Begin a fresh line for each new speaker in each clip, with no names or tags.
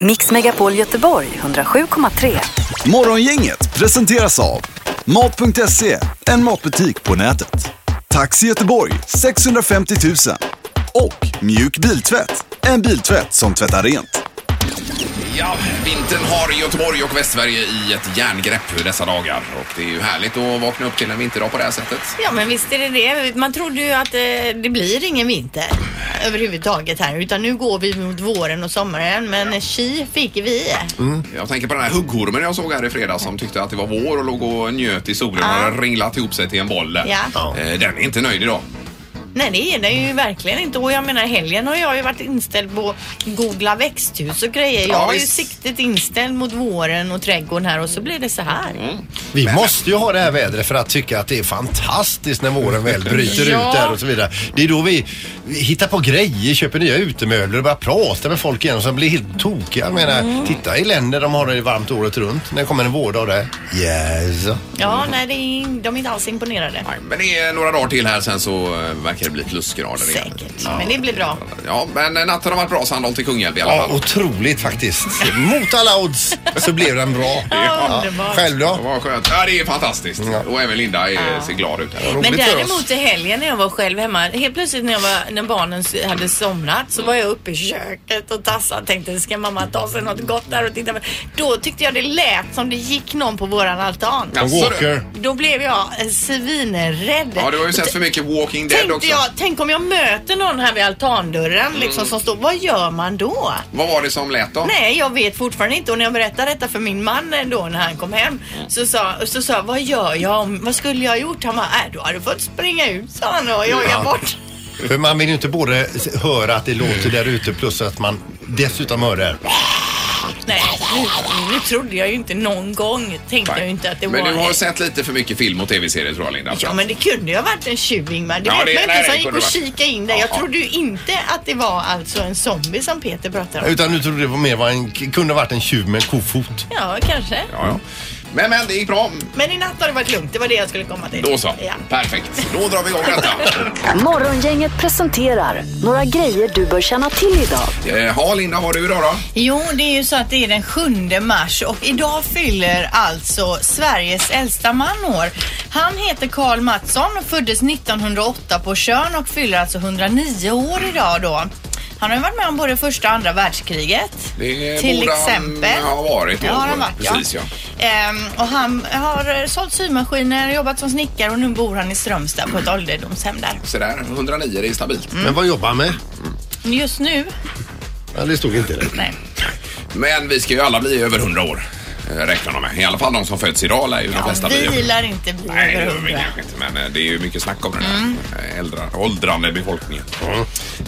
Mix Megapol Göteborg 107,3.
Morgongänget presenteras av Mat.se, en matbutik på nätet. Taxi Göteborg 650 000. Och Mjuk Biltvätt, en biltvätt som tvättar rent.
Ja, vintern har Göteborg och Västsverige i ett järngrepp dessa dagar. Och det är ju härligt att vakna upp till en vinterdag på det här sättet.
Ja, men visst är det det. Man trodde ju att eh, det blir ingen vinter överhuvudtaget här utan nu går vi mot våren och sommaren men chi fick vi.
Mm.
Jag tänker på den här huggormen jag såg här i fredags som tyckte att det var vår och låg och njöt i solen och hade ringlat ihop sig till en boll där.
Ja.
Eh, Den är inte nöjd idag.
Nej, det är den ju verkligen inte och jag menar helgen har jag ju varit inställd på googla växthus och grejer. Jag
Ja,
har ju
visst.
siktet inställt mot våren och trädgården här och så blir det så
Mm.
här.
Vi måste ju ha det här vädret för att tycka att det är fantastiskt när våren väl bryter
Ja.
ut där och så vidare. Det är då vi vi hittar på grejer, köper nya utemöbler och börjar prata med folk igen som blir helt tokiga. Jag menar,
Mm.
titta i länder de har det varmt året runt. När kommer en vårdag där? Yes.
Ja, nej, det är, de är inte alls imponerade.
Nej, men det är några dagar till här sen så eh, verkar det bli plusgrader igen.
Säkert, men det blir bra.
Ja, men eh, natten har varit bra Sandholt till Kungälv i alla
Ja,
fall.
otroligt faktiskt. Mot alla odds så blev den bra.
Ja, underbart.
Själv då?
Det var skönt. Ja, det är fantastiskt.
Ja.
Och även Linda är, ser glad ut här.
Men
Roligt för
däremot
oss.
i helgen när jag var själv hemma, helt plötsligt när, jag var, när barnen hade somnat så var jag uppe i köket och tassade och tänkte ska mamma ta sig något gott där och titta på. Då tyckte jag det lät som det gick någon på våran altan.
Ja.
Och Walker.
Då blev jag eh, svinrädd.
Ja, du har ju
Och
sett
t-
för mycket Walking Dead
Tänkte
också. Mm.
jag, tänk om jag möter någon här vid altandörren liksom som står, vad gör man då?
Vad var det som lät då?
Nej, jag vet fortfarande inte. Och när jag berättade detta för min man då när han kom hem
Mm.
så sa så sa jag, vad gör jag? om- Vad skulle jag ha gjort? Han bara, äh, du hade fått springa ut sa han och jaga bort.
För man vill ju inte både s- höra att det låter där ute plus att man dessutom hör det.
Nej, nu, nu trodde jag ju inte någon gång, tänkte jag ju inte att det
men
var...
du har sett lite för mycket film och tv-serier tror jag Linda.
Ja men det kunde ju ha varit en tjuv Ingmar. Det
Ja, det-
vet man
nej,
inte
det
som gick
kunde
och
det varit.
kika in där. Jag
Ja.
trodde ju inte att det var alltså en zombie som Peter pratade om.
Utan nu trodde det var mer vad en, kunde ha varit en tjuv med en kofot.
Ja, kanske.
Ja, ja. Men, men det gick bra.
Men i natt har det varit lugnt. Det var det jag skulle komma till.
Då så.
Ja.
Perfekt. Då drar vi igång detta.
Morgongänget presenterar några grejer du bör känna till idag.
Eh, Ja, Linda, vad har du idag då?
Jo, det är ju så att det är den 7 mars och idag fyller alltså Sveriges äldsta man år. Han heter Karl Mattsson och föddes 1908 på Tjörn och fyller alltså 109 år idag då. Han har ju varit med om både första och andra världskriget.
Det
till
borde han
exempel.
ha varit då.
Ja, har han varit,
Precis, ja.
Ehm, och han har eh, sålt symaskiner, jobbat som snickare och nu bor han i Strömstad på ett ålderdomshem där.
Så där, 109, det är stabilt.
Men vad jobbar han med?
Mm, Just nu,
Ja, det stod inte det.
nej.
Men vi ska ju alla bli över 100 år, eh, räknar de med. I alla fall de som föds idag lär ju de flesta bli.
Vi
över-
lär inte bli
Nej, det
över
gör vi
hundra. Mm.
kanske inte, men eh, det är ju mycket snack om den här eh, äldra, åldrande befolkningen.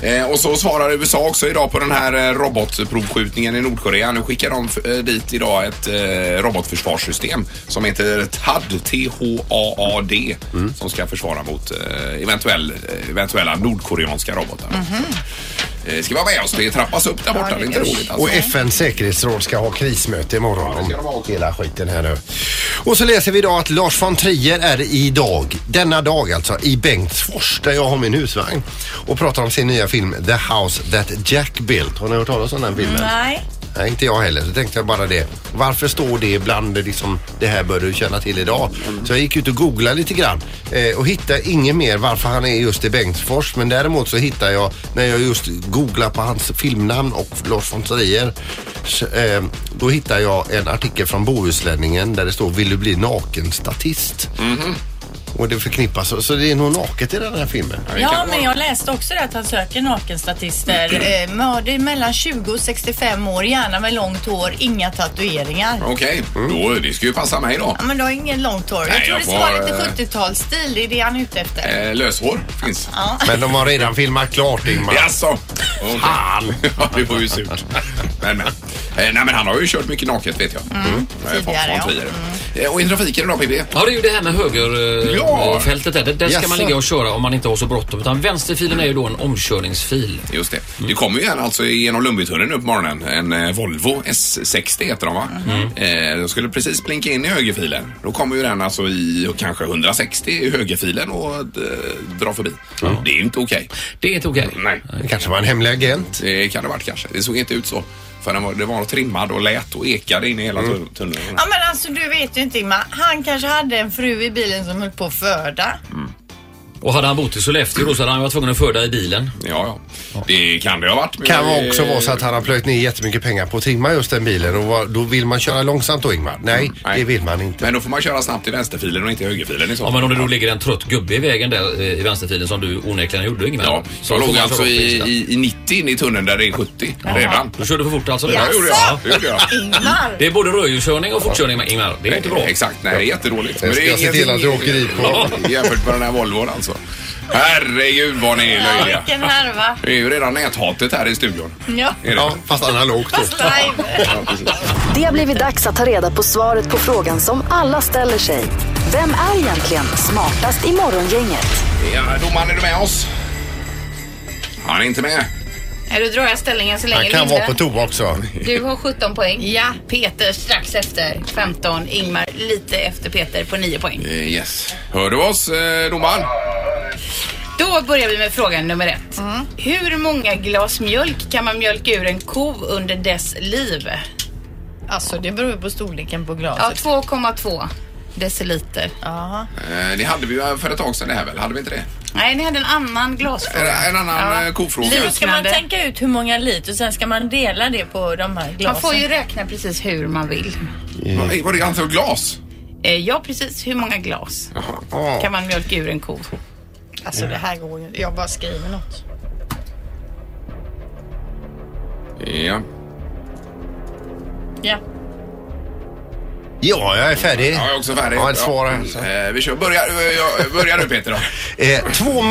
Eh, och så svarar USA också idag på den här eh, robotprovskjutningen i Nordkorea. Nu skickar de f- eh, dit idag ett eh, robotförsvarssystem som heter THAAD, T-H-A-A-D, som ska försvara mot eh, eventuell, eh, eventuella nordkoreanska robotar.
Mm-hmm.
Eh, ska vara med oss, det trappas upp där borta. det är inte
usch.
roligt alltså.
Och FNs säkerhetsråd ska ha krismöte imorgon om hela skiten här nu. Och så läser vi idag att Lars von Trier är idag, denna dag alltså, i Bengtsfors där jag har min husvagn och pratar om sin nya film The House That Jack Built. Har ni hört talas om den filmen?
Nej.
Nej, inte jag heller. Så tänkte jag bara det. Varför står det bland liksom, det här bör du känna till idag? Så jag gick ut och googlade lite grann eh, och hittade inget mer varför han är just i Bengtsfors. Men däremot så hittade jag, när jag just googlade på hans filmnamn och Lars von Trier, s- eh, då hittade jag en artikel från Bohuslänningen där det står Vill du bli naken statist?
Mhm.
Och det förknippas, så- så det är nog naket i den här filmen.
Ja, det kan
Ja,
vara.
men jag läste också det att han söker nakenstatister.
Mm.
Eh, Mörder mellan 20 och 65 år, gärna med långt hår, inga tatueringar.
Okej, då, det ska ju passa mig då.
Ja, men du har ingen långt hår.
Nej,
Jag tror
jag
det ska vara
får,
lite
eh,
70-talsstil, det är det han är ute efter.
Eh, löshår finns.
Men de har redan filmat klart Ingmar.
Jaså? Okay.
Fan.
ja, det var ju surt. Men, men. Eh, nej, men han har ju kört mycket naket vet jag. Mm.
tidigare, ja. Mm.
Eh, Och i trafiken idag PB?
Ja, det är ju det här med eh,
Ja.
högerfältet där. Där- Där ska man
Jaså.
ligga och köra om man inte har så bråttom. Utan vänsterfilen är ju då en omkörningsfil.
Just det.
Mm.
Det kommer ju en alltså genom Lundbytunneln upp på morgonen. En eh, Volvo S60 heter de va?
Mm.
Mm.
Eh, de skulle precis blinka in i högerfilen. Då kommer ju den alltså i kanske 160 i högerfilen och eh, dra förbi. Det är ju inte okej.
Det är inte okej.
Nej.
Det kanske var en hemlig agent.
Det kan det ha varit kanske. Det såg inte ut så. För den var, det var trimmad och lät och ekade in i
Mm.
hela tun- tunneln.
Ja men alltså du vet ju inte Ingmar. Han kanske hade en fru i bilen som höll på att föda.
Och hade han bott i Sollefteå då så hade han varit tvungen att föda i bilen.
Ja, ja. Det kan det ha varit. men-
Kan också vara så att han har plöjt ner jättemycket pengar på att trimma just den bilen och vad- då vill man köra långsamt då Ingmar? Nej,
Mm, Nej.
det vill man inte.
Men då får man köra snabbt i vänsterfilen och inte i högerfilen i så
Ja, men om det då ligger en trött gubbe i vägen där eh, i vänsterfilen som du onekligen gjorde Ingemar.
Ja,
så
jag
får
låg
man
alltså
köra upp
i,
bilen.
i, i 90 in i tunneln där det är 70 redan.
Du körde för fort alltså?
Ja, det gjorde jag. Det gjorde jag.
Ingmar!
Det är både rödljuskörning och fortkörning med Ingmar. Det är inte bra.
Exakt, nej det är jättedåligt.
Jag ska se till att du åker dit på.
jämfört med den här Volvon alltså. Herregud vad ni är
Ja,
löjliga.
vilken härva.
Det är ju redan näthatet här i studion.
Ja.
Är det?
Ja, fast analogt då.
Fast live.
Ja, precis.
Det har blivit dags att ta reda på svaret på frågan som alla ställer sig. Vem är egentligen smartast i Morgongänget?
Ja, domaren, är du med oss? Han är inte med.
Nej, då drar jag ställningen så länge.
Han kan
Linda.
vara på toa också.
Du har 17 poäng.
Ja.
Peter strax efter 15. Ingmar lite efter Peter på 9 poäng.
Eh, Yes. Hör du oss, eh, domaren?
Då börjar vi med frågan nummer ett.
Mm.
Hur många glas mjölk kan man mjölka ur en ko under dess liv?
Alltså det beror ju på storleken på
Ja,
glaset.
2,2 Alltså, deciliter.
Ja.
Eh, Det hade vi ju för ett tag sedan det här väl? Hade vi inte det?
Nej, ni hade en annan glasfråga.
En- en annan, eh, kofråga.
Liknande.
Då ska man tänka ut hur många liter och sen ska man dela det på de här glasen.
Man får ju räkna precis hur man vill.
Mm. Var det antal glas? Ah.
Eh, Ja, precis. Hur många glas kan man mjölka ur en ko?
Alltså det här går ju Jag bara skriver något.
Ja.
Ja.
Ja, jag är färdig.
Ja, jag är också färdig.
Ja, ett svar här. Så.
Ja. Eh, Vi kör. Börja, ja, börja du Peter då.
Eh, 2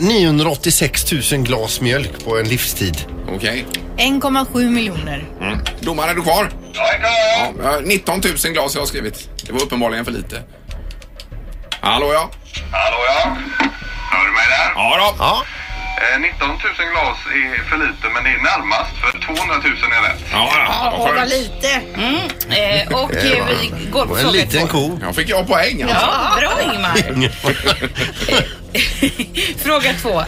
986 000 glas mjölk på en livstid.
Okej.
1,7 miljoner.
Mm.
Domaren, är du kvar? Ja, jag har 19 000 glas jag har skrivit. Det var uppenbarligen för lite. Hallå ja.
Hallå ja. Hör du mig där?
Ja då.
Ja,
Eh, 19 000 glas är för lite men det är närmast för 200 000 är rätt.
Ja, ja. Ah, vad skönt.
lite.
Eh, Och eh, vi går på
och en
fråga
liten
två.
ko.
Ja, fick jag poäng alltså.
Ja, bra Ingmar. Fråga två.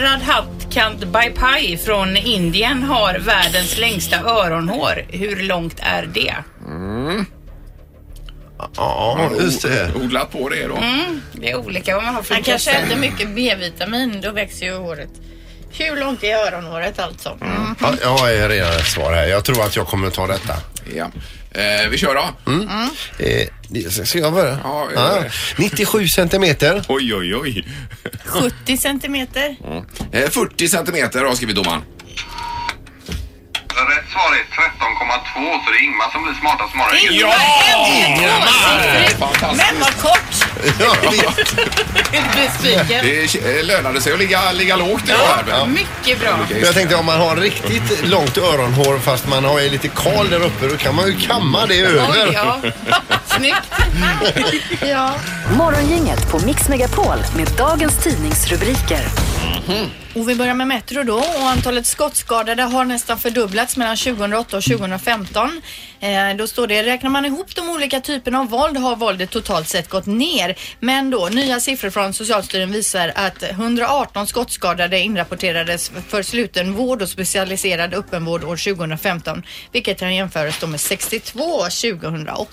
Radhatkant Bhai från Indien har världens längsta öronhår. Hur långt är det?
Mm.
Ja, just det.
Odlat på det då.
Mm. Det är olika vad man har för
Han kanske
intresse.
äter mycket B-vitamin, då växer ju håret. Hur långt är öronhåret alltså? Mm.
Ja, jag har redan ett svar här. Jag tror att jag kommer ta detta.
Ja. Eh, vi kör då.
Mm.
Mm.
Eh, ska jag börja?
Ja, gör det.
97 centimeter.
Oj, oj, oj.
70 centimeter.
Eh, 40 centimeter har skrivit domaren.
Alltså, Rätt svar är 13,2 så det är Ingmar som blir smartast imorgon.
Ja!
Men vad
Fantastiskt.
kort!
Ja,
Besviken.
Det eh, lönade sig att ligga, ligga lågt idag här. väl?
Mycket bra.
Men Jag tänkte om man har riktigt långt öronhår fast man har ju lite kal där uppe då kan man ju kamma det
Oj,
över.
ja. Snyggt.
Ja.
Morgongänget på Mix Megapol med dagens tidningsrubriker.
Mhm. Och vi börjar med Metro då och antalet skottskadade har nästan fördubblats mellan 2008 och 2015. Eh, då står det, räknar man ihop de olika typerna av våld har våldet totalt sett gått ner. Men då, nya siffror från Socialstyrelsen visar att 118 skottskadade inrapporterades för sluten vård och specialiserad öppenvård år 2015. Vilket kan jämföras då med 62 2008.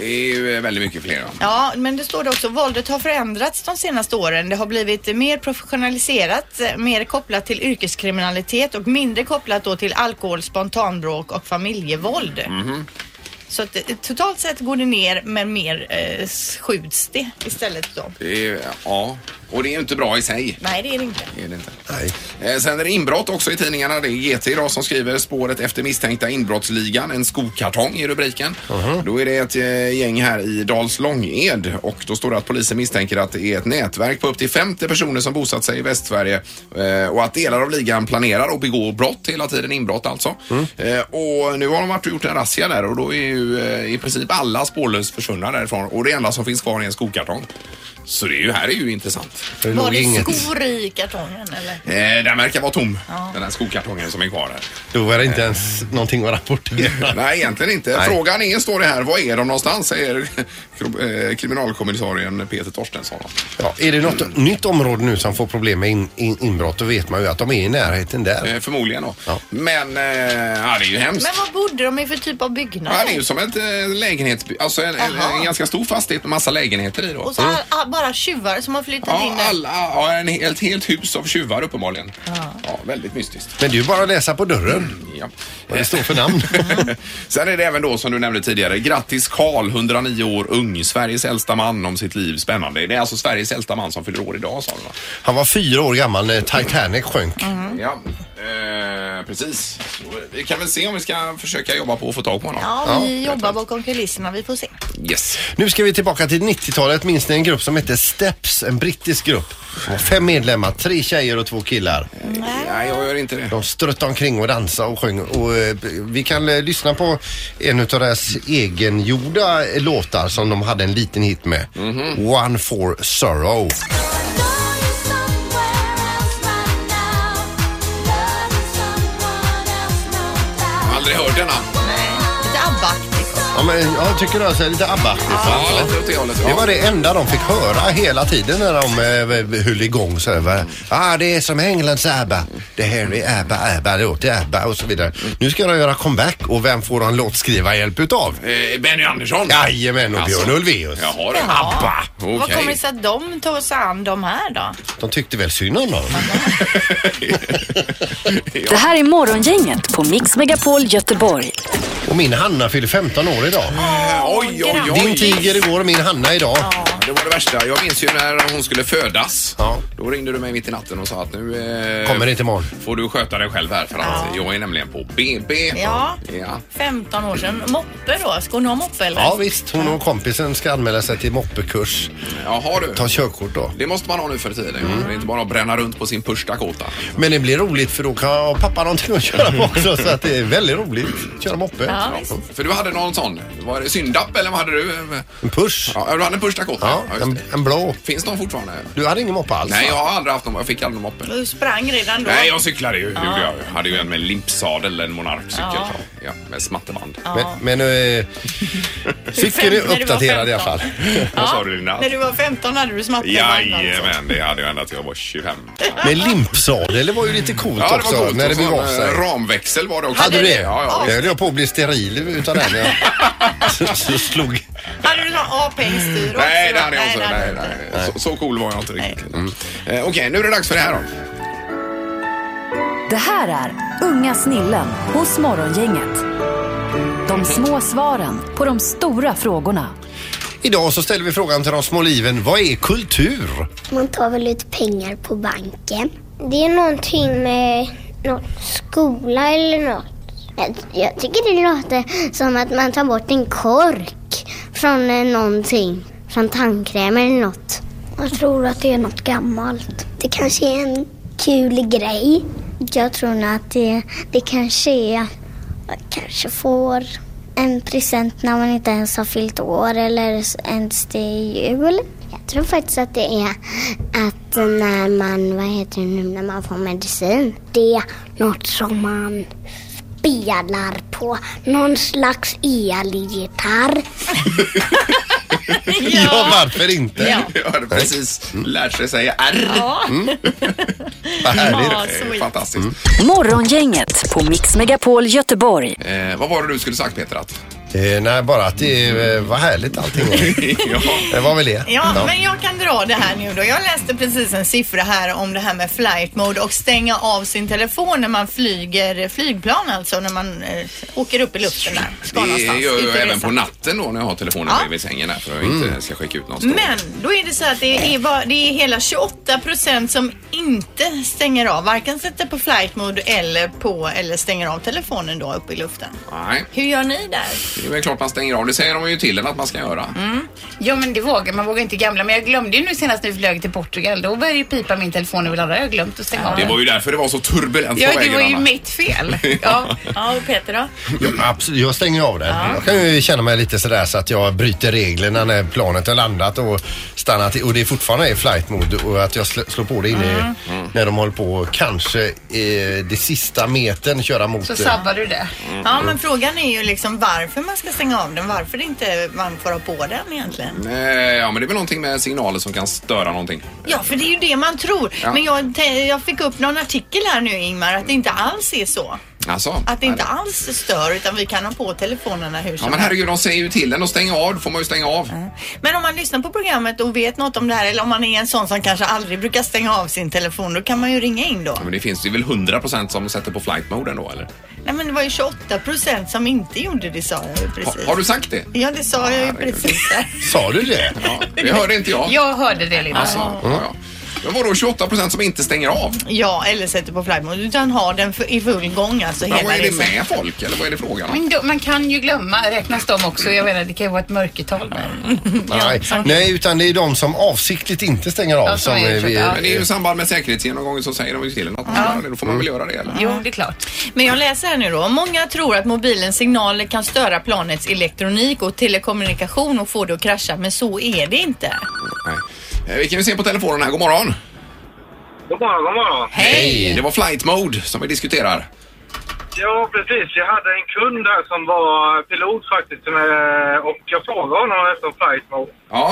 Det är ju eh, väldigt mycket fler. ja.
Ja, men det står det också. Våldet har förändrats de senaste åren. Det har blivit mer professionaliserat, eh, mer kopplat till yrkeskriminalitet och mindre kopplat då till alkohol, spontanbråk och familjevåld.
Mm.
Så att, eh, totalt sett går det ner, men mer eh, skjuts det istället då.
Det är, eh, ja, och det är ju inte bra i sig.
Nej, det är det inte.
Är det inte. Eh, Sen är det inbrott också i tidningarna. Det är GT idag som skriver spåret efter misstänkta inbrottsligan. En skokartong i rubriken. Då är det ett eh, gäng här i Dals Långed och då står det att polisen misstänker att det är ett nätverk på upp till 50 personer som bosatt sig i Västsverige eh, och att delar av ligan planerar och begår brott hela tiden, inbrott alltså. Eh, Och nu har de varit och gjort en razzia där och då är ju eh, i princip alla spårlöst försvunna därifrån och det enda som finns kvar är en skokartong. Så det är ju, här är ju intressant.
Det
Var
låg
det
inget.
skor i kartongen eller?
Eh, den verkar vara tom, den här skokartongen som är kvar här.
Då var det inte ens någonting att rapportera.
Nej, egentligen inte.
Nej.
Frågan är, står det här, var är de någonstans? Säger kro- eh, kriminalkommissarien Peter Torstensson.
Ja, är det något nytt område nu som får problem med in, in, inbrott då vet man ju att de är i närheten där.
Eh, förmodligen då.
Ja.
Men, eh, ja, det är ju hemskt.
Men vad bodde de i för typ av byggnad?
Ja, det är ju som ett eh, lägenhets... Alltså en, en,
Jaha.
en ganska stor fastighet med massa lägenheter i då.
Och så all, all, bara tjuvar som har flyttat
Ja,
in där.
alla, ja, en, he- ett helt hus av tjuvar uppenbarligen. Ja, väldigt mystiskt.
Men det är ju bara att läsa på dörren
Ja.
vad det står för namn.
Sen är det även då som du nämnde tidigare. Grattis Karl, 109 år ung. Sveriges äldsta man om sitt liv. Spännande. Det är alltså Sveriges äldsta man som fyller år idag sa du va?
Han var fyra år gammal när Titanic sjönk.
Ja, eh, precis. Så, eh, Vi kan väl se om vi ska försöka jobba på att få tag på honom.
Ja, vi
Ja,
jobbar bakom kulisserna. Vi får se.
Yes.
Nu ska vi tillbaka till 90-talet. Minns ni en grupp som hette Steps? En brittisk grupp. Det var fem medlemmar, tre tjejer och två killar.
Nej, jag gör inte det.
De struttade omkring och dansade och sjöng. Och, eh, vi kan eh, lyssna på en av deras egengjorda eh, låtar som de hade en liten hit med.
Mhm.
One for Sorrow.
Aldrig hört denna.
Lite abba
Ja, men, jag tycker alltså, det är lite abba
Ja, lite åt det hållet.
Det var det enda de fick höra hela tiden när de eh, höll igång. Så här, va? ah, det är som Englands ABBA. Det här är ABBA, ABBA, det låter ABBA och så vidare. Nu ska de göra comeback och vem får de låtskrivarhjälp utav?
Eh, Benny Andersson?
Jajamän, och Björn Ulvaeus.
Jaha, det.
ABBA!
Vad
Okej.
kommer det sig att de tar sig an de här då?
De tyckte väl synd om dem.
Det här är Morgongänget på Mix Megapol Göteborg.
Och min Hanna fyller 15 år idag.
Eh, Oj, oj, oj.
Din tiger igår och min Hanna idag.
Det var det värsta. Jag minns ju när hon skulle födas.
Ja.
Då ringde du mig mitt i natten och sa att nu eh,
Kommer inte imorgon.
får du sköta dig själv här för att jag är nämligen på BB.
Ja.
ja.
15 år sedan. Moppe då? Ska hon ha moppe eller?
Ja visst, hon och kompisen ska anmäla sig till moppekurs.
Jaha du.
Ta körkort då. Mm.
Det måste man ha nu för tiden. Det är inte bara att bränna runt på sin Push-Dakota.
Men det blir roligt för då kan jag och pappa någonting att köra på också så att det är väldigt roligt. Köra moppe.
Ja, visst.
För du hade någon sån. Var det Syndapp eller vad hade du?
En push. Ja,
Ja, du hade en Push-Dakota. just
en,
det.
en blå.
Finns de fortfarande?
Du hade ingen moppe alls?
Nej, jag
va?
har aldrig haft dem. Jag fick aldrig dem uppe.
Du sprang redan då.
Nej, jag cyklade ju. Gjorde jag. jag hade ju en med limpsadel, en monarkcykel. Ja. med smatterband.
Men, men eh, cykeln är
När du var
uppdaterad i alla
15.
fall.
Vad sa du Linda?
När du var 15 hade du smatterband alltså.
Jajamän, det hade jag ända till jag var 25.
Men limpsadel, det var ju lite coolt
Ja, det
också
var coolt.
när det
Och så
begav
en,
sig.
eh, Ramväxel var det också.
Hade du det?
Ja, ja.
jag höll jag på att bli steril utan den. Jag så, så slog.
Hade du någon A-pengstyr också?
Nej, det hade jag inte.
hade
Nej,
du inte.
nej, Så, så cool var jag inte riktigt. Mm. Eh, Okej, nu är det dags för det här då.
Det här är Unga snillen hos Morgongänget. De små svaren på de stora frågorna.
Idag så ställer vi frågan till de små liven. Vad är kultur?
Man tar väl ut pengar på banken. Det är någonting med någon skola eller något. Jag, jag tycker det låter som att man tar bort en kork från eh, någonting. Från tandkräm eller något. Jag tror att det är något gammalt. Det kanske är en kul grej. Jag tror nog att det, det kanske är... Man kanske får en present när man inte ens har fyllt år eller ens det är jul. Jag tror faktiskt att det är att när man, vad heter det nu, när man får medicin. Det är något som man spelar på, någon slags elgitarr.
Ja, varför inte? Mm.
Ja.
Jag hade precis lärt sig säga R.
Ja,
Vad härligt.
ja,
Eh,
sweet.
Fantastiskt.
Morgongänget på Mix Megapol Göteborg.
Eh, vad var det du skulle sagt Peter? Att?
Eh, nej, bara att det eh, var härligt allting. var.
ja.
Det var väl det.
Ja, men jag kan dra det här nu då. Jag läste precis en siffra här om det här med flight mode och stänga av sin telefon när man flyger flygplan alltså när man eh, åker upp i luften där. Ska
Det
någonstans,
gör
ut
jag
och
även
resa.
på natten då när jag har telefonen
Ja. Mm.
bredvid sängen där för att jag inte ska skicka ut någon stor.
Men då är det så att det är, bara, det är hela 28 procent som inte stänger av. Varken sätter på flight mode eller på eller stänger av telefonen då uppe i luften.
Nej.
Hur gör ni där?
Det är väl klart man stänger av. Det säger de ju till en att man ska göra.
Mm. Ja men det vågar man vågar inte gamla. Men jag glömde ju nu senast när vi flög till Portugal. Då började ju pipa min telefon överallt. Jag har glömt att stänga av
Det
den.
var ju därför det var så turbulent
Ja
på
det
vägen,
var ju
Anna.
mitt fel. Ja.
Ja, och Peter då?
Ja, absolut, jag stänger av den. Jag kan ju känna mig lite sådär så att jag bryter reglerna när planet har landat och stannat i- och det är fortfarande är flight mode och att jag sl- slår på det inne
Mm.
i-
Mm.
när de håller på och kanske eh, det sista metern köra mot
Så
eh,
sabbar du det.
Mm.
Ja, men frågan är ju liksom varför man ska stänga av den. Varför inte man får ha på den egentligen.
Eh, Ja, men det är väl någonting med signaler som kan störa någonting.
Ja, för det är ju det man tror.
Ja.
Men jag, te- jag fick upp någon artikel här nu Ingmar att det inte alls är så.
Alltså,
Att det inte alls stör utan vi kan ha på telefonerna hur
Ja,
som
men
helst.
herregud, de säger ju till en att stänga av. Då får man ju stänga av.
Men om man lyssnar på programmet och vet något om det här eller om man är en sån som kanske aldrig brukar stänga av sin telefon då kan man ju ringa in då.
Men det finns ju väl 100% som sätter på flight mode ändå, eller?
Nej men det var ju 28 procent som inte gjorde det sa jag ju
Ha,
precis.
har du sagt det?
Ja det sa jag ju
Herregud.
precis där.
Sa du det?
Ja, det hörde inte jag.
Jag hörde det Linda.
Alltså, ja, ja. Det var då 28 procent som inte stänger av.
Ja eller sätter på flygmode utan har den för- i full gång alltså
Men
hela
vad är det
resan.
med folk eller vad är det frågan om?
Men då, man kan ju glömma. Räknas de också? Jag menar det kan ju vara ett mörkertal. Men.
Nej. Nej, utan det är de som avsiktligt inte stänger av
Ja,
som
som är
eh, vi,
ja.
Men det är ju i samband med säkerhetsgenomgången så säger de ju till en att man ska göra det. Då får man väl göra det eller?
Jo det är klart.
Men jag läser här nu då. Många tror att mobilens signaler kan störa planets elektronik och telekommunikation och få det att krascha, men så är det inte.
Nej. Eh, Vi kan ju se på telefonen här. God morgon.
God morgon, god morgon.
Det var flight mode som vi diskuterar.
Ja, precis. Jag hade en kund där som var pilot faktiskt som, eh, och jag frågade honom efter en flight mode.
Ja,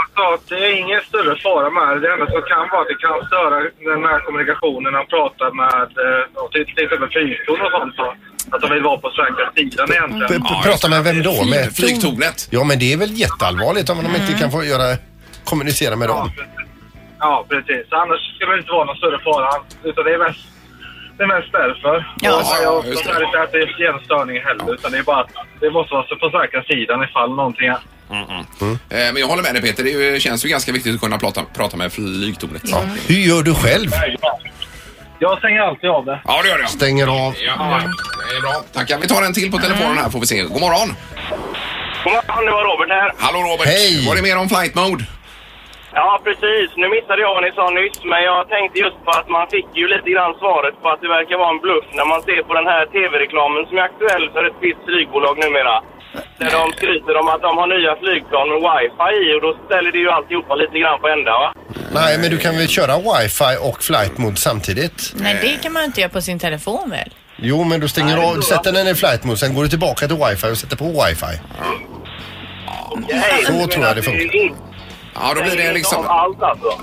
Han sa att det är ingen större fara med det. Det enda som kan vara att det kan störa den här kommunikationen han pratar med eh, ja, till till exempel flygtorn och sånt. då. Att de vill vara på säkra sidan
P-
egentligen.
p- Prata med vem då? Med
flygtornet.
Ja, men det är väl jätteallvarligt om de
Mm.
inte kan få göra, kommunicera med
Ja,
dem.
precis. Ja, precis. Annars skulle det inte vara någon större fara. Utan det är mest, det är mest därför.
Ja.
och jag
Ja, just det.
det. inte att det är genstörning heller. Utan det är bara att det måste vara så på säkra sidan ifall någonting är.
Eh, Men jag håller med dig Peter, det är ju- känns ju ganska viktigt att kunna prata, prata med flygtornet.
Ja. Hur gör du själv?
Jag stänger alltid av det.
Ja, det gör jag.
Stänger av.
Ja, det är bra. Tackar. Vi tar en till på telefonen här får vi se. God morgon.
God morgon, det var Robert här.
Hallå Robert.
Hej.
Var det mer om flight mode?
Ja, precis. Nu missade jag vad ni sa nyss, men jag tänkte just på att man fick ju lite grann svaret på att det verkar vara en bluff när man ser på den här tv-reklamen som är aktuell för ett visst flygbolag numera. Där de skryter om att de har nya flygplan med wifi i och då ställer det ju alltihopa lite grann på ända va?
Nej, men du kan väl köra wifi och flight mode samtidigt?
Men det kan man inte göra på sin telefon väl?
Jo, men du stänger av, sätter den i flight mode, sen går du tillbaka till wifi och sätter på wifi.
Nej,
Så tror jag det funkar.
Ja, då blir det liksom...
Allt alltså.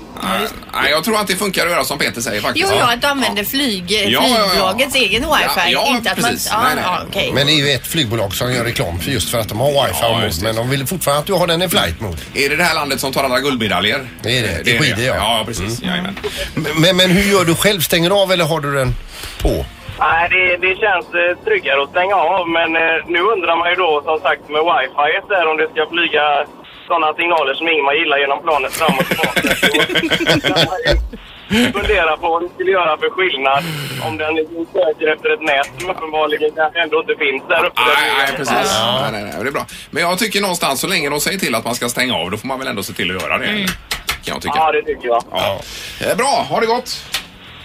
Nej, jag tror att det funkar att göra som Peter säger faktiskt.
Jo, ja, att du använder flyg,
ja, ja.
flygbolagets egen wifi.
Ja, ja,
inte att
precis.
Man,
Nej,
ja,
nej.
ja, okej.
Men det är ju ett flygbolag som gör reklam för just för att de har wifi
Ja,
och mode,
just det.
men de vill fortfarande att du har den i flight mode.
Är det det här landet som tar alla guldmedaljer?
Det är det. I skidor, ja.
Ja, precis. Jajamän.
Men, men hur gör du själv? Stänger du av eller har du den på?
Nej, det, det känns eh, tryggare att stänga av, men eh, nu undrar man ju då som sagt med wifi där om det ska flyga sådana signaler som Ingmar gillar genom planet fram och tillbaka. Så kan man ju Fundera på vad det skulle göra för skillnad om den liksom söker efter ett nät som uppenbarligen kanske ändå inte finns där uppe.
Nej, nej, precis. Nej, nej, nej, det är bra. Men jag tycker någonstans så länge de säger till att man ska stänga av, då får man väl ändå se till att göra det. Kan jag tycka.
Mm. Ja, det tycker jag.
Ja. Eh, Bra, ha det gott.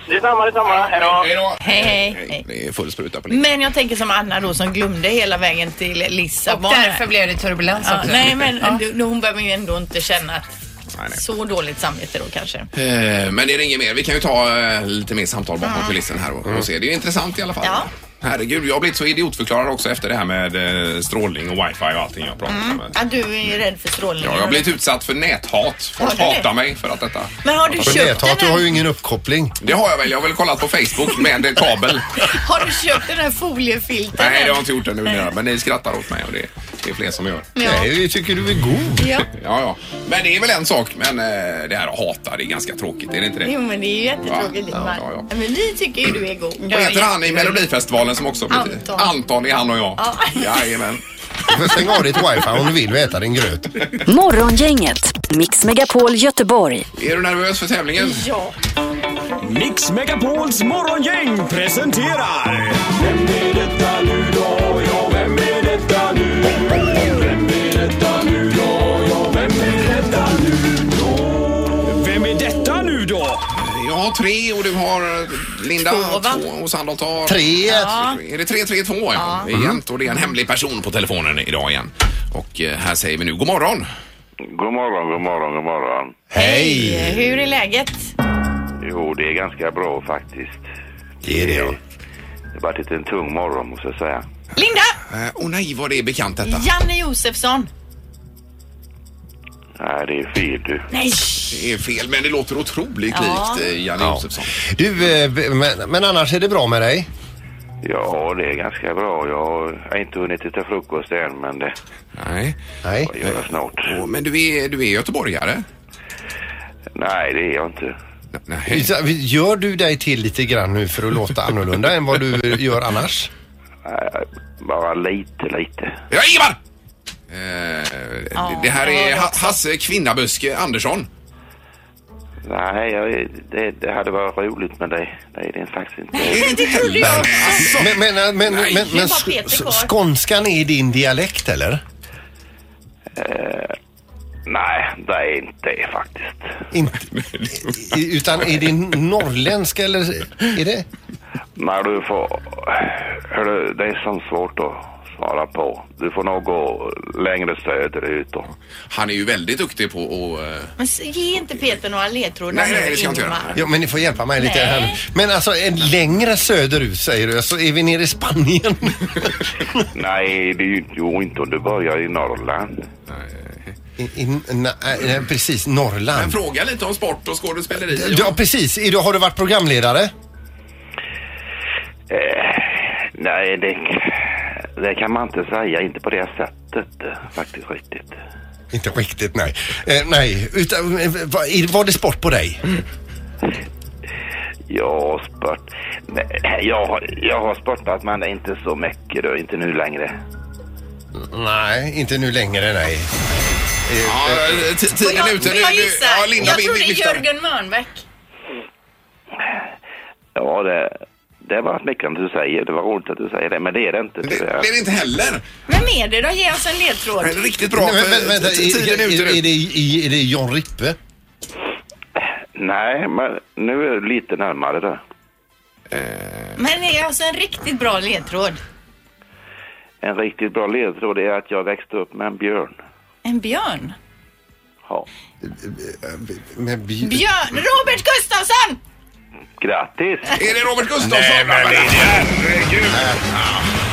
Detsamma, detsamma. Hej då.
Hej då.
Hej, hej, hej.
Det är full spruta på linjen.
Men jag tänker som Anna då som glömde hela vägen till
Och
Lissabon.
därför blev det turbulens
ja,
också.
nej, men du- hon behöver ju ändå inte känna att
Nej, nej.
så dåligt samvete då kanske.
Eh, Men det är inget mer. Vi kan ju ta eh, lite mer samtal bakom kulissen här och, och se. Det är intressant i alla fall.
Mm. Ja.
Herregud, jag har blivit så idiotförklarad också efter det här med eh, strålning och wifi och allting jag pratat om.
Att du är rädd för strålning.
Mm. Ja, jag har blivit utsatt för näthat. Folk
Har du det?
hatar mig för att detta.
Men har du
För
köpt den
näthat, du har
här,
ju ingen uppkoppling.
Det har jag väl. Jag har väl kollat på Facebook med kabel.
har du köpt den här foliefilten?
Nej, det har
än?
jag inte gjort det nu. Men ni skrattar åt mig och det, det är fler som gör.
Ja.
Nej, vi tycker du är god.
Ja.
Ja, ja. Men det är väl en sak. Men eh, det här att hata, det är ganska tråkigt. Är det inte det?
Jo men det är ju jättetråkigt
Ja,
Ingmar.
ja, ja.
Men vi tycker ju du är god.
Vad heter han i Melodifestivalen som också...
Anton.
Anton är han och jag.
Ja.
Jajamän.
Du får stänga av ditt wifi om du vill och äta din gröt.
Morgongänget, Mix Megapol Göteborg.
Är du nervös för tävlingen?
Ja.
Mix Megapols morgongäng presenterar... Vem är detta nu då? Ja, vem är detta nu?
har tre och du har eh, Linda
Två,
två,
va?
och Sandholt har...
Tre.
Ja.
Är det 332 ja? ja. Det är jämnt och det är en hemlig person på telefonen idag igen. Och eh, här säger vi nu god morgon.
God morgon, god morgon, god morgon.
Hej!
Hur är läget?
Jo, det är ganska bra faktiskt.
Det är det ja.
Det har varit en tung morgon måste jag säga.
Linda!
Åh eh, oh nej, vad det är bekant detta.
Janne Josefsson.
Nej, det är fel du.
Nej!
Det är fel, men det låter otroligt
Ja.
likt eh, Janne Josefsson.
Du, eh, b- men, men annars är det bra med dig?
Ja, det är ganska bra. Jag har inte hunnit äta frukost än, men det
Nej.
Nej.
gör jag snart.
Åh, men du är, du är göteborgare?
Nej, det är jag inte.
N- Nej.
Gör du dig till lite grann nu för att låta annorlunda än vad du gör annars?
Nej, bara lite, lite.
Ja, Ingemar! Eh, det- det här
det hörde
är
jag
ha Hasse Kvinnaböske Andersson.
Nej, jag, är- det, det hade varit roligt med dig. Nej, det är faktiskt inte.
Är det inte Alltså,
Men, men, men, men,
Nej.
men,
Det är bara
sk-
Peter kvar.
sk- skånskan är din dialekt eller?
Eh,
Nej, det är inte det faktiskt.
Inte, i- utan är det norrländska eller är det?
Nej, du får... Hörru, det är så svårt att svara på. Du får nog gå längre söderut då.
Han är ju väldigt duktig på att... eh,
Men s- ge inte Peter några ledtrådar
Nej, nej,
nu,
det ska jag inte
Ingmar.
göra.
Ja, men ni får hjälpa mig lite
Nej.
här nu. Men alltså en längre söderut säger du, så är vi nere i Spanien.
Nej, det är ju jo, inte om du börjar i Norrland.
I, i, na, eh, precis,
Men
Norrland.
fråga lite om sport och skådespeleri.
Ja precis, idag har du varit programledare?
Eh, Nej, det, det kan man inte säga. Inte på det sättet eh, faktiskt riktigt.
Inte riktigt nej. Eh, nej, utan, eh, va- är- var det sport på dig?
Ja, sport. Nej, jag, har- jag har sportat men inte så mycket då. Inte nu längre.
Nej, inte nu längre nej.
Ja, eh, t-
Får
tiden är
jag-
ute.
får
Nu,
Jag
nu,
gissa.
ja, Linda
jag
vill
tror det är
lyfta den.
Jörgen Mörnbäck.
Ja, det, det var smickrande att du säger. Det var roligt att du säger det. Men det är det inte.
Det det är det inte heller.
Vem är det då? Ge oss en ledtråd.
Men riktigt bra.
Nej,
för
men, vänta,
t- tiden är
är,
ute
är, är, det,
nu.
i- är det John Rippe?
Nej, men nu är du lite närmare då.
Men ge oss en riktigt bra ledtråd.
En riktigt bra ledtråd är att jag växte upp med en björn.
En björn?
Ja.
Med bi-
Björn? Robert Gustafsson!
Grattis!
Är det Robert Gustafsson? herregud!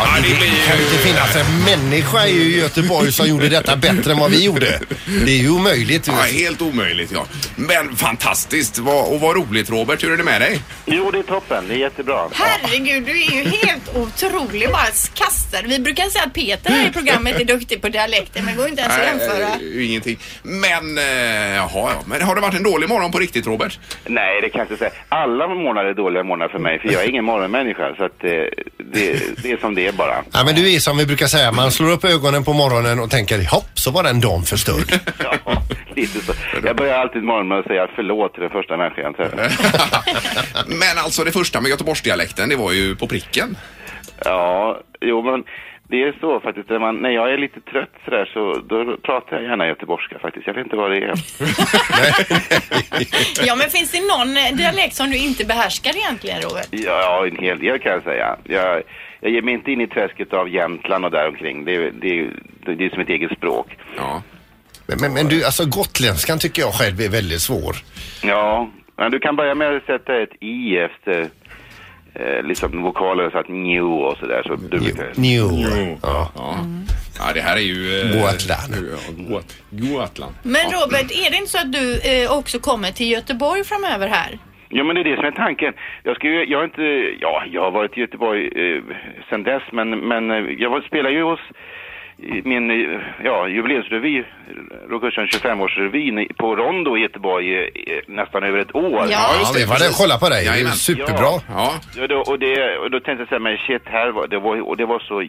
Ja, det
kan ju
blir
inte
ju...
finnas en människa i Göteborg som gjorde detta bättre än vad vi gjorde. Det är ju omöjligt.
Ja, helt omöjligt ja. Men fantastiskt. Vad, och vad roligt Robert. Hur är det med dig?
Jo, det är toppen. Det är jättebra.
Herregud, du är ju helt otrolig. Bara kastar. Vi brukar säga att Peter här i programmet är duktig på dialekter, men det går inte ens att jämföra.
eh, ingenting. Men, eh, jaha, ja. Men har det varit en dålig morgon på riktigt Robert?
Nej, det kan jag inte säga. Alla månader är dåliga månader för mig, för jag är ingen morgonmänniska. Så att, eh, det, det är som det är bara.
Ja, men du är som vi brukar säga, man slår upp ögonen på morgonen och tänker hopp så var den dagen förstörd.
Ja, lite så. Jag börjar alltid morgonen med att säga förlåt till den första människan jag träffar.
Men alltså det första med Göteborgsdialekten, det var ju på pricken.
Ja, jo men det är så faktiskt. När, man, när jag är lite trött sådär så då pratar jag gärna göteborgska faktiskt. Jag vet inte vad det är.
Ja, men finns det någon eh, dialekt som du inte behärskar egentligen, Robert?
Ja, en hel del kan jag säga. Jag, jag ger mig inte in i träsket av Jämtland och däromkring. Det, är- det, är- det är som ett eget språk.
Ja.
Men, men, men du, alltså gotländskan tycker jag själv är väldigt svår.
Ja, men du kan börja med att sätta ett i efter eh, liksom vokaler så att njo och sådär. Så du
New. Ja.
Ja. ja, det här är ju... eh,
Gotland.
ja, Got- Gotland.
Men Robert, är det inte så att du eh, också kommer till Göteborg framöver här?
Ja, men det är det som är tanken. Jag, ska ju, jag, har inte, ja, jag har varit i Göteborg eh, sen dess, men, men eh, jag var- spelar ju hos i min eh, ja, jubileumsrevy, Rokursen 25-årsrevyn i- på Rondo i Göteborg eh, eh, nästan över ett år.
Ja,
Ja, vi var där och kollade på dig. Det är ju
Jajamän.
superbra.
Ja.
Ja, då, och, det, och då tänkte jag så här, men shit, här var, det, var, och det var så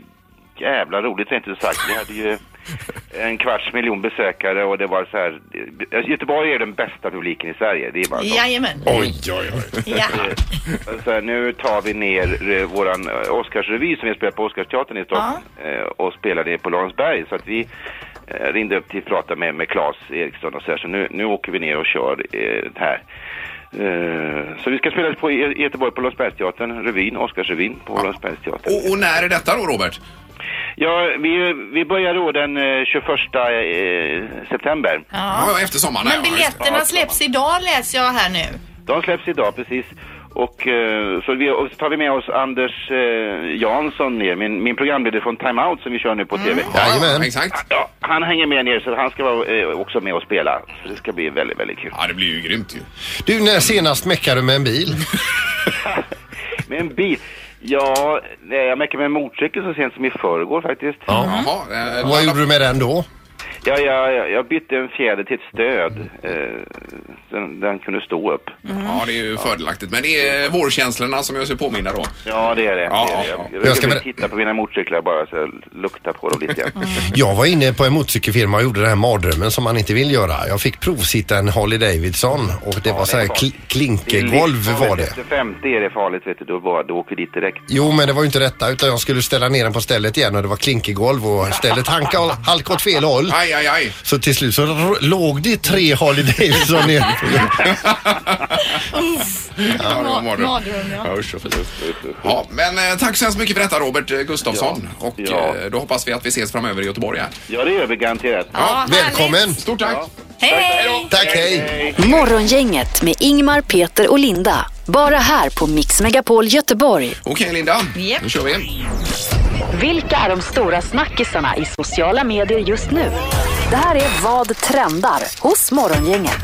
jävla roligt rent ut sagt. Vi hade ju en kvarts miljon besökare och det var så här, eh, Göteborg är den bästa publiken i Sverige. Det är bara så.
Jajamän.
Oj, oj, oj.
Ja.
Så här, nu tar vi ner eh, våran eh, Oscarsrevy som vi spelar på Oscarsteatern i Stockholm eh, och spelar det på Lorensberg. Så att vi eh, ringde upp till prata med, med Claes Eriksson och så här, så nu, nu åker vi ner och kör eh, det här. Eh, så vi ska spela på i i Göteborg på Lundsbergsteatern, revyn, Oscarsrevyn på Lundsbergsteatern.
Och, och när är detta då, Robert?
Ja, vi, vi börjar då den eh, 21 eh, september.
Ja, efter sommaren.
Men biljetterna släpps idag läser jag här nu.
De släpps idag, precis. Och eh, så, vi, och så tar vi med oss Anders eh, Jansson ner, min, min programledare från Time Out som vi kör nu på TV.
Mm. Jajamän. Exakt.
Ja, han hänger med ner så han ska vara eh, också med och spela. Så det ska bli väldigt, väldigt kul.
Ja, det blir ju grymt ju.
Du, när senast meckade du med en bil?
Med en bil? Ja, nej, jag märker med en motorcykel så sent som i förrgår faktiskt.
eh,
Eh, Vad gjorde du med den då?
Ja, jag, jag- jag bytte en fjäder till ett stöd. Eh, den, den kunde stå upp.
Mm.
Ja, det är ju fördelaktigt. Men det är vårkänslorna som jag sig påminna då.
Ja, det är det.
Ja,
det, är det.
ja, ja.
Jag,
Jag
jag
ska
ska
ber-
titta på mina motorcyklar bara så jag luktar på dem lite grann.
Jag var inne på en motorcykelfirma och gjorde den här mardrömmen som man inte vill göra. Jag fick provsitta en Harley Davidson och det var så här kl- klinkergolv
Det är livsfarligt.
var det.
Efter 50 är det farligt, vet du. Då, bara, då åker dit direkt.
Jo, men det var ju inte detta utan jag skulle ställa ner den på stället igen och det var klinkergolv och stället hanka, halka åt fel håll.
Aj, aj, aj.
Så till slut så r- låg det tre Harley Davidson ner.
Ja, det var mardröm.
Mardröm, ja.
Ja, usch, usch, usch. ja, men eh, tack så hemskt mycket för detta Robert eh, Gustafsson. Och
Ja.
eh, då hoppas vi att vi ses framöver i Göteborg här.
Ja, det gör vi garanterat.
Ja,
Välkommen!
Stort tack!
Hej!
Tack, hej!
Morgongänget med Ingmar, Peter och Linda. Bara här på Mix Megapol Göteborg.
Okej Linda,
Japp.
nu kör vi.
Vilka är de stora snackisarna i sociala medier just nu? Det här är Vad trendar hos Morgongänget.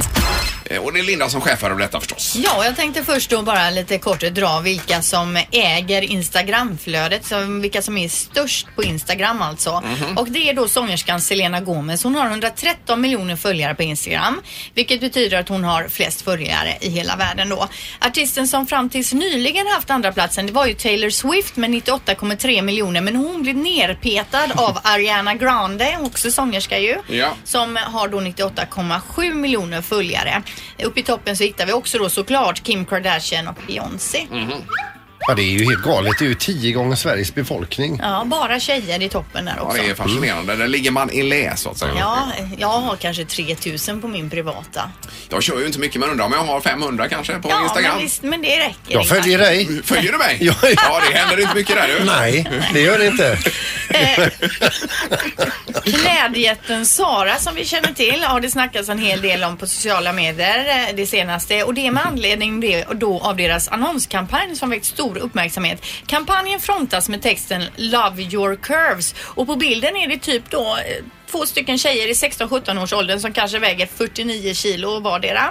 Eh, Och det är Linda som chefar över detta förstås.
Ja, jag tänkte först då bara lite kort dra vilka som äger Instagramflödet, som, vilka som är störst på Instagram alltså. Och det är då sångerskan Selena Gomez. Hon har 113 miljoner följare på Instagram, vilket betyder att hon har flest följare i hela världen då. Artisten som fram tills nyligen haft andra platsen, det var ju Taylor Swift med 98,3 miljoner, men hon blev nerpetad av Ariana Grande, också sångerska ju
Ja.
som har då 98,7 miljoner följare. Uppe i toppen så hittar vi också då såklart Kim Kardashian och Beyoncé.
Mhm.
Ja, det är ju helt galet. Det är ju tio gånger Sveriges befolkning.
Ja, bara tjejer i toppen där
Ja,
också.
det är fascinerande. Där ligger man i lä så att säga.
Ja, jag har kanske 3000 på min privata.
Jag kör ju inte mycket men undrar om jag har 500 kanske på
Ja,
Instagram.
men visst, men det räcker.
Jag
Ingmar.
följer dig.
Följer du mig?
Ja.
ja, det händer inte mycket där du.
Nej, det gör det inte.
Eh, Klädjätten Sara som vi känner till har det snackats en hel del om på sociala medier eh, det senaste och det är med anledning det- då av deras annonskampanj som väckt stor uppmärksamhet. Kampanjen frontas med texten Love your curves och på bilden är det typ då eh, två stycken tjejer i 16-17 års åldern som kanske väger 49 kilo vardera.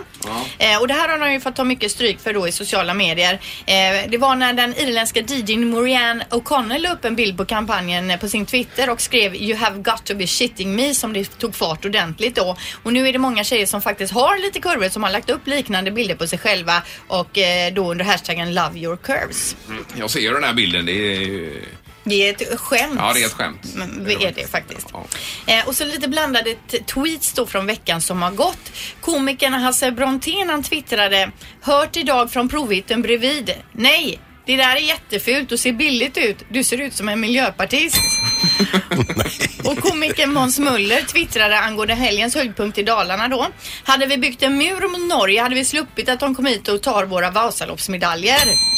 Eh, och det här har de ju fått ta mycket stryk för då i sociala medier. Eh, det var när den irländska DJn Maureen O'Connell la upp en bild på kampanjen eh, på sin Twitter och skrev You have got to be shitting me som det tog fart ordentligt då. Och nu är det många tjejer som faktiskt har lite kurvor som har lagt upp liknande bilder på sig själva och eh, då under hashtaggen Love your curves.
Jag ser ju den här bilden. Det är ju...
Det är ett skämt.
Ja, det är ett skämt.
Men Mm, Det är det faktiskt.
Ja.
Eh, och så lite blandade t- tweets då från veckan som har gått. Komikern Hasse Brontén han twittrade Hört idag från provhytten bredvid. Nej, det där är jättefult och ser billigt ut. Du ser ut som en miljöpartist. Och komikern Måns Möller twittrade angående helgens höjdpunkt i Dalarna då. Hade vi byggt en mur mot Norge hade vi sluppit att de kom hit och tar våra Vasaloppsmedaljer.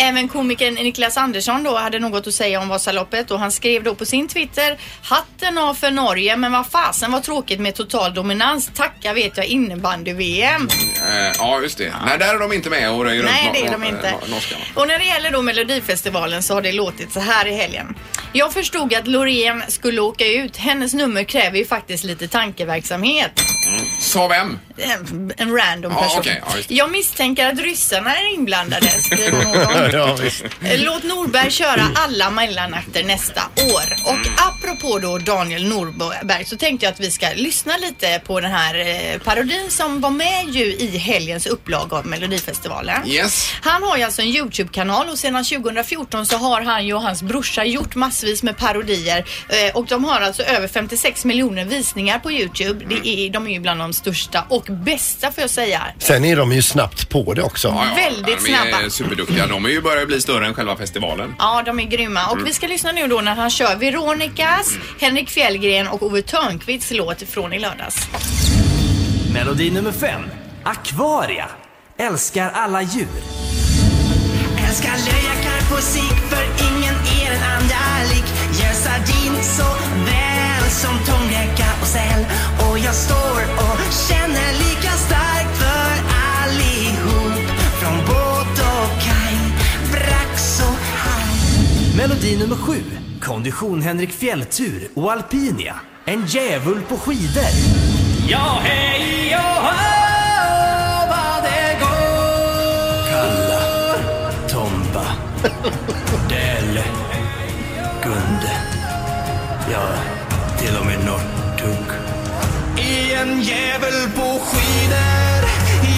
Även komikern Niklas Andersson då hade något att säga om Vasaloppet och han skrev då på sin Twitter Hatten av för Norge men vad fasen vad tråkigt med total dominans. Tacka vet jag innebandy-VM.
Eh, Ja, just det. Nej, där är de inte med och röjer
Nej,
runt
det är
nor-
de
nor-
inte.
nor- norskarna.
Och när det gäller då Melodifestivalen så har det låtit så här i helgen. Jag förstod att Loreen skulle åka ut. Hennes nummer kräver ju faktiskt lite tankeverksamhet.
Mm. Sa vem?
En- En random
Ja,
person.
okej, ja, just det.
jag misstänker att ryssarna är inblandade, skriver någon.
Ja, visst.
Låt Norberg köra alla mellanakter nästa år. Och apropå då Daniel Norberg så tänkte jag att vi ska lyssna lite på den här eh, parodin som var med ju i helgens upplaga av Melodifestivalen.
Yes.
Han har ju alltså en Youtube-kanal och sedan 2014 så har han ju och hans brorsa gjort massvis med parodier eh, och de har alltså över 56 miljoner visningar på Youtube. Det är, de är ju bland de de största och bästa får jag säga.
Sen är de ju snabbt på det också.
Väldigt snabba.
De är superduktiga. De är ju börjar bli större än själva festivalen.
Ja, de är grymma. Och
Mm.
vi ska lyssna nu då när han kör Veronicas, Henrik Fjällgren och Ove Thörnqvists låt från i lördags.
Melodi nummer fem. Akvaria. Älskar alla djur.
Älskar lejakar på sikt för ingen är den andra lik. Gör sardin så väl som tångräka och säl. Och jag står och känner lika starkt för allihop. Från båt och kaj, brax och haj.
Melodi nummer sju. Kondition Henrik Fjälltur och Alpinia. En djävul på skidor. Ja, hej, ja, hej, vad det går. Kalla, Tomba, Dell, Gunde. Ja, till och med Nortug.
I en djävul på skidor,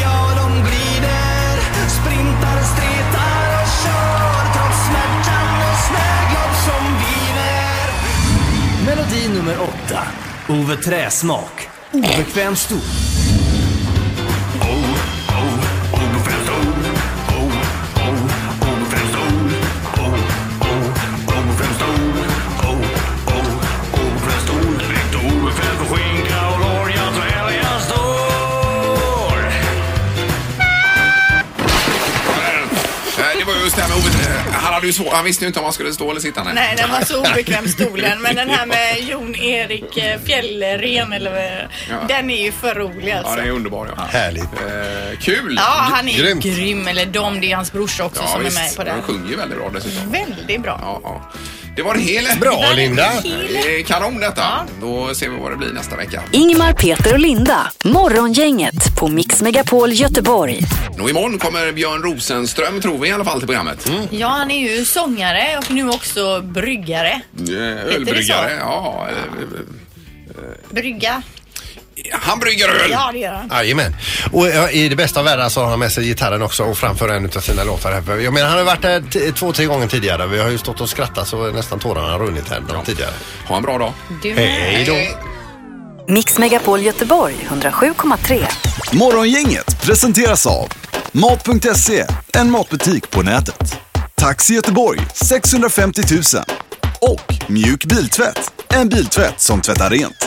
ja de glider Sprintar, stretar och kör trots smärtan och snöglopp som viner
Melodi nummer åtta. Ove Träsmak. Obekväm stol.
Eh, Det var just det här med Ove. Han, hade ju svår, han visste ju inte om han skulle stå eller sitta.
Nej, den var så obekväm stolen. Men den här med Jon-Erik eh, Fjällren, eller, vad-
Ja.
den är ju för rolig
Ja,
alltså.
den är underbar. Ja. Härligt. Eh, kul!
Ja, han är grym. Eller de, det är hans brorsa också
Ja,
som
visst.
är med på
Han
den.
sjunger ju väldigt bra dessutom.
Väldigt bra.
Ja, ja. Det var det hela.
Bra, Det var det Linda. hela.
Det är Kanon detta. Då ser vi vad det blir nästa vecka.
Ingmar, Peter och Linda. Morgongänget på Mix Megapol Göteborg.
Och imorgon kommer Björn Rosenström, tror vi i alla fall, till programmet.
Mm.
Eh,
Ja, han är ju sångare och nu också bryggare.
Eh, Ölbryggare, ja. eh,
Brygga.
Han brygger öl.
Ja, det gör han.
Jajamän. Och ja, i det bästa av världen så har han med sig gitarren också och framför en utav sina låtar. här. Jag menar han har varit här t- två, tre gånger tidigare. Vi har ju stått och skrattat så nästan tårarna har runnit här tidigare.
Ha en bra dag.
Du
Hej då.
Mix Megapol Göteborg 107,3.
Morgongänget presenteras av Mat.se, en matbutik på nätet. Taxi Göteborg 650 000 och Mjuk Biltvätt, en biltvätt som tvättar rent.